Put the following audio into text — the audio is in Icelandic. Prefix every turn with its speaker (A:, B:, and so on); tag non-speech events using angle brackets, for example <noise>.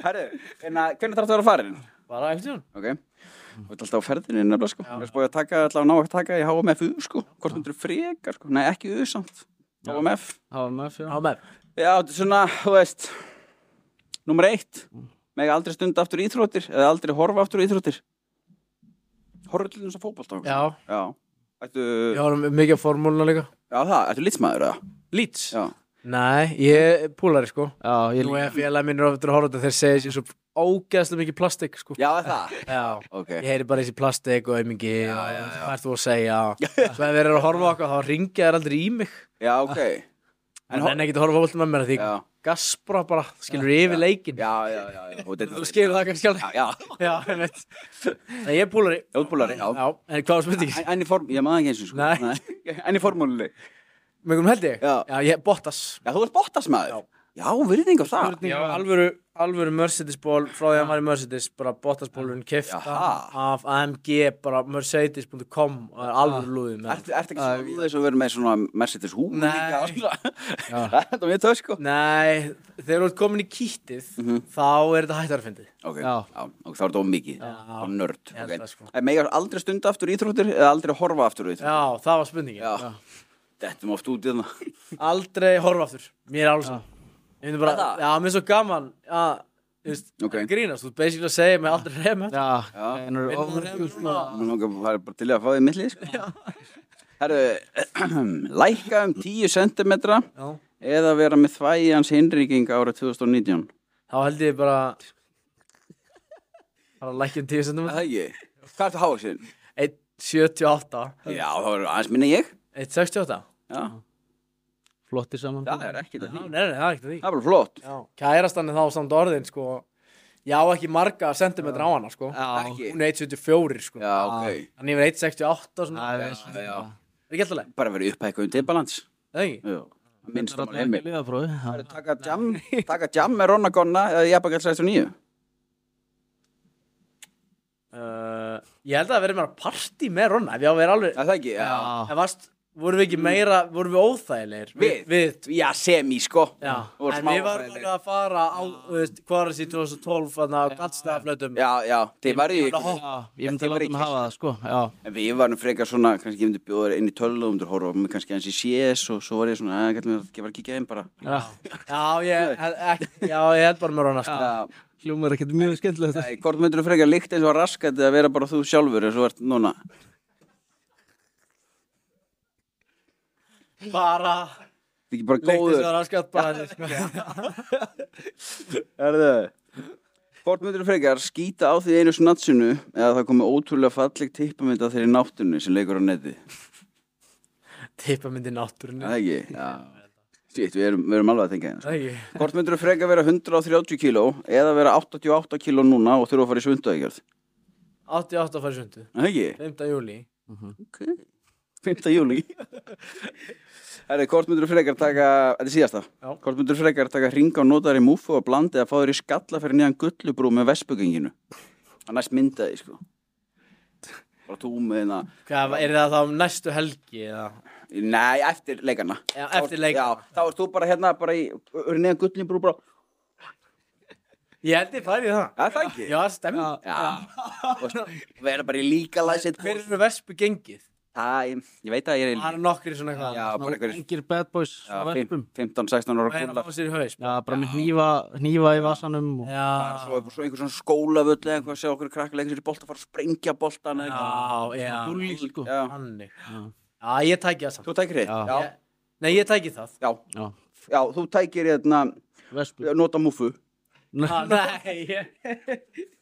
A: Herru, hérna, hvernig þarf það að vera farin?
B: Bara eftir hún.
A: Ok, þú ert alltaf á ferðinni nefnilega sko. Þú ert búið að taka, alltaf ná að taka í HMF sko. Hvort þú myndir frekar sko. Nei, ekki U samt. HMF.
B: HMF, já.
C: Á með
A: Já, þetta er svona, þú veist, nummer eitt. Meg aldrei stunda aftur íþróttir eða aldrei horfa aftur íþróttir. Horfa til þess að fótbolta. okkur.
B: Já.
A: Já. Ættu,
B: Ég horfum mikið á formúluna líka.
A: já það, ættu litsmaður eða?
B: Leeds?
A: Já.
B: Nei, ég er púlari sko.
C: Já, ég
B: Nú er félag minn ráður að horfa á þetta þeir segja sér svo ógeðslega mikið plastik sko.
A: Já, er það.
B: Já.
A: Ok.
B: Ég heyri bara þessi plastik og aumingi og hvað ert þú að segja Svo ef þeir eru að horfa á okkur þá ringja þær aldrei í mig
A: Já, ok. En
B: En
A: hor-
B: henni ekkert að horfa á fólk með mér að því
A: Já.
B: Gaspra bara, skilur yfir leikin
A: Já, já, já. já. Og þetta-
B: Þú skilur það kannski
A: Já,
B: alveg
A: já.
B: Já, ég veit En ég er púlari
A: Jótbúlari, já.
B: Já, en hvað var spurningin?
A: En- En í form, ég maður ekki eins og sko
B: Nei.
A: <laughs> En í formúlunni
B: Mjög um held ég?
A: Já.
B: Já, ég Bottas
A: Já, þú ert Bottas maður Já, virðing á það
B: Já, alvöru, alvöru Mercedes-ból frá því að hann var í Mercedes, bara Bottas-bólurinn kifta
A: Jaha.
B: af AMG, bara Mercedes.com og það er alvöru lúðið með
A: Ertu ert ekki svona úr þess að vera með svona Mercedes hú
B: Nei.
A: líka? <laughs> sko? Það er þetta mjög töð sko
B: Nei, þegar þú ert komin í kýttið þá er þetta hættarfindið
A: Ok, já,
C: Já.
A: og þá er þetta of mikið
B: Já.
A: Og nörd
B: Ég held
A: ok.
B: það, sko.
A: En megar aldrei stunda aftur íþróttir eða aldrei horfa aftur íþróttir
B: Já, það var spurningin
A: Já. Þetta oft út í
B: <laughs>
A: það
B: Aldrei horfa aftur, mér er alls saman. Ég myndi bara,
A: Er það?
B: já, mér er svo gaman að, þú veist,
A: Ok.
B: grínast, þú ert basically að segja mig aldrei reyð með
C: Já,
A: Já.
C: en eru
B: þetta
C: ofur
B: Rem svona-
A: Nú langar bara bara til að fá því millið sko Herru, <clears throat> lækka um 10 cm
B: Já.
A: eða vera með þvægjans hinríking ára 2019
B: Þá held ég bara bara lækjum 10 cm
A: Það ekki, hvað ertu háa sér?
B: 1,78
A: Já, það var aðeins minni en ég
B: 1,68
A: Já,
C: flottir saman
A: það er ekkert að því
B: Já, Nei, nei, það er ekkert að því
A: Það er bara flott
B: Já. Kærastan er þá samt orðin sko Já, ekki marga sentimetra á hana sko
A: Ekki.
B: Hún er 1,74 sko
A: Já, ok
B: Hann yfir 1,68 svona
C: Það
B: Er
C: er svona
A: já.
B: ekki alltaf leið?
A: Bara verið upphækkuðum til balans
B: Það er ekki?
A: Já, minnst
C: Það
A: það
C: er ekki
A: heimil
C: liðaprófi
A: Það er taka jam, taka jam með Ronna Gonna eða Jabba Gell 69
B: Uh, ég held að það verið meira partí með Ronna Ef ég á að vera alveg
A: Það er það ekki, já
C: Já,
B: En varst, vorum við ekki meira, vorum við óþægilegir
A: Við?
B: Við
A: Já, semi, sko
B: Já,
A: Þú varst
B: en við
A: smá
B: varum
A: óþægileg.
B: alveg að fara á, þú veist, hvað var þessi 2012 Þannig að gattstæðaflötum
A: Já, já, þið varu
B: Ég-
A: í
C: já, ég
A: Þetta
C: myndi að
A: var
C: láta mig
A: ekki-
C: hafa það, sko Já,
A: En við varum frekar svona, kannski ég myndi bjóða þér inn í tölvu um þér horfa með kannski hans í CS og svo var ég svona, að gætum við að kíkja einn bara
C: já.
B: Já, ég, ekki, já, ég held bara með Ronna sko.
A: Já,
C: Hljómar ekkert mjög skemmtilegt
A: Nei, hvort myndur þú frekar líkt eins og raskat eða vera bara þú sjálfur eins og ert núna
B: Bara
A: Þetta er ekki bara
B: Líktis
A: góður
B: að raskat bara því, sko.
A: Erðu Hvort myndur þú frekar skýta á því einu snatsinu eða það komi ótrúlega falleg tippamynd á þeirri náttunni sem leikur á neti
B: Tippa myndi
A: Það
B: náttúrunni
A: er ekki, já Sýtt, við erum, við erum alveg að tengja hérna sko.
B: Það ekki
A: Hvort myndur þú frekar vera 130 kíló eða vera 88 kíló núna og þurfa að fara í svundaðegjörð
B: 88 að fara í sundu
A: Það er ekki
B: 5. júli
A: 5. júli Herri, hvort myndur þú frekar taka Þetta er síðasta
B: Já.
A: Hvort myndur þú frekar taka ringa og nota þér í múfu og blanda eða fá þér í skalla fyrir neðan gullubrú með vespugenginu Það næst mynda því sko Bara tú með hérna
B: Hvað, er það þá um næstu helgi eða?
A: Nei, eftir leikana
B: Já, eftir
A: Já,
B: leikana.
A: þá ert þú bara hérna bara í fyrir neðan gullubrú bara
B: Ég held ég farið í það
A: Það er það ekki
B: Já, það stemmi
A: Já Og vera bara í líka læsitt
B: Hver eru vespu gengið?
A: Það, ég- ég veit að ég er í
B: Það er nokkri svona hvað
A: Já, bara einhverjir
C: Engir bad boys á verpum
A: 15-16 ára
B: Það er
A: gullar
B: að fá sér í haus
C: Já, bara með hnífa, hnífa í vasanum og...
B: Já
A: svo, svo einhver svona skólavöll eða eitthvað sjá okkur krakka leikur sér í bolta fara að sprengja boltan eða eitthvað
B: Já, já
C: Dúlli, sko
A: Já.
B: Þannig Já, ég tæki það samt
A: Þú tækir hitt?
C: Já.
A: Já.
B: Nei, ég tæki það <laughs>
A: Já.
C: Já,
A: Já, þú tækir hérna
C: vespu
A: nota múfu
B: Nei, ég